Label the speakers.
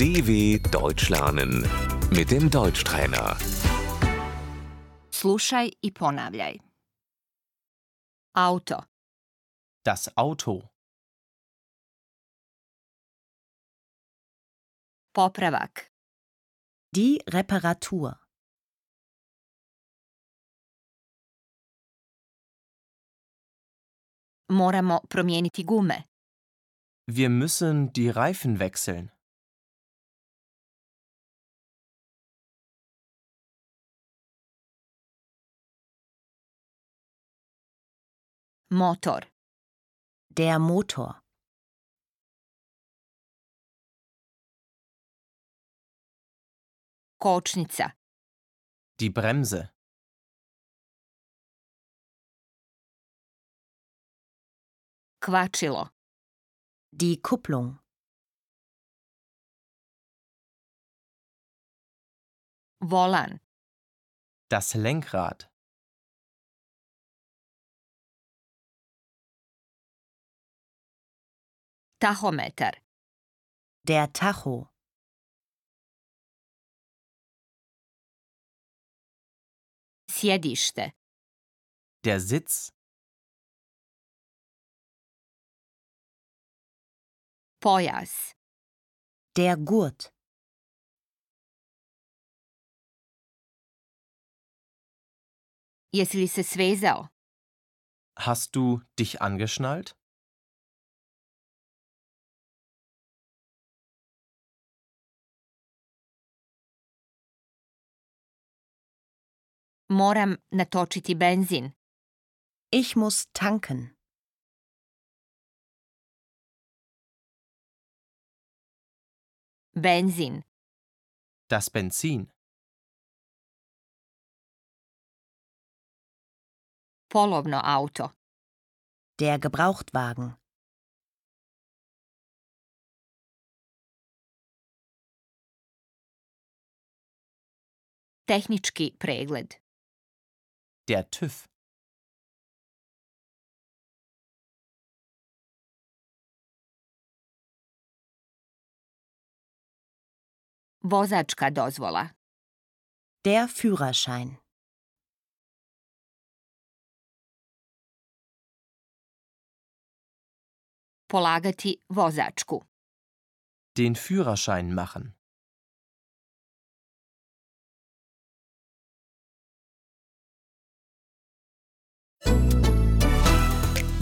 Speaker 1: DW Deutsch lernen mit dem Deutschtrainer.
Speaker 2: Slušaj i ponavljaj. Auto,
Speaker 3: Das Auto.
Speaker 2: popravak,
Speaker 4: Die Reparatur.
Speaker 2: moramo promijeniti gume,
Speaker 3: Wir müssen die Reifen wechseln.
Speaker 2: motor,
Speaker 4: Der Motor.
Speaker 2: kočnica,
Speaker 3: Die Bremse.
Speaker 2: kvačilo,
Speaker 4: Die Kupplung.
Speaker 2: volan,
Speaker 3: Das Lenkrad.
Speaker 2: tahometar,
Speaker 4: Der Tacho.
Speaker 2: sjedište,
Speaker 3: Der Sitz.
Speaker 2: pojas,
Speaker 4: Der Gurt.
Speaker 2: jesi li se svezao,
Speaker 3: Hast du dich angeschnallt?
Speaker 2: moram natočiti benzin,
Speaker 4: Ich muss tanken.
Speaker 2: benzin,
Speaker 3: Das Benzin.
Speaker 2: polovno auto,
Speaker 4: Der Gebrauchtwagen.
Speaker 2: tehnički pregled,
Speaker 3: Der TÜV.
Speaker 2: vozačka dozvola,
Speaker 4: Der Führerschein.
Speaker 2: polagati vozačku,
Speaker 3: Den Führerschein machen.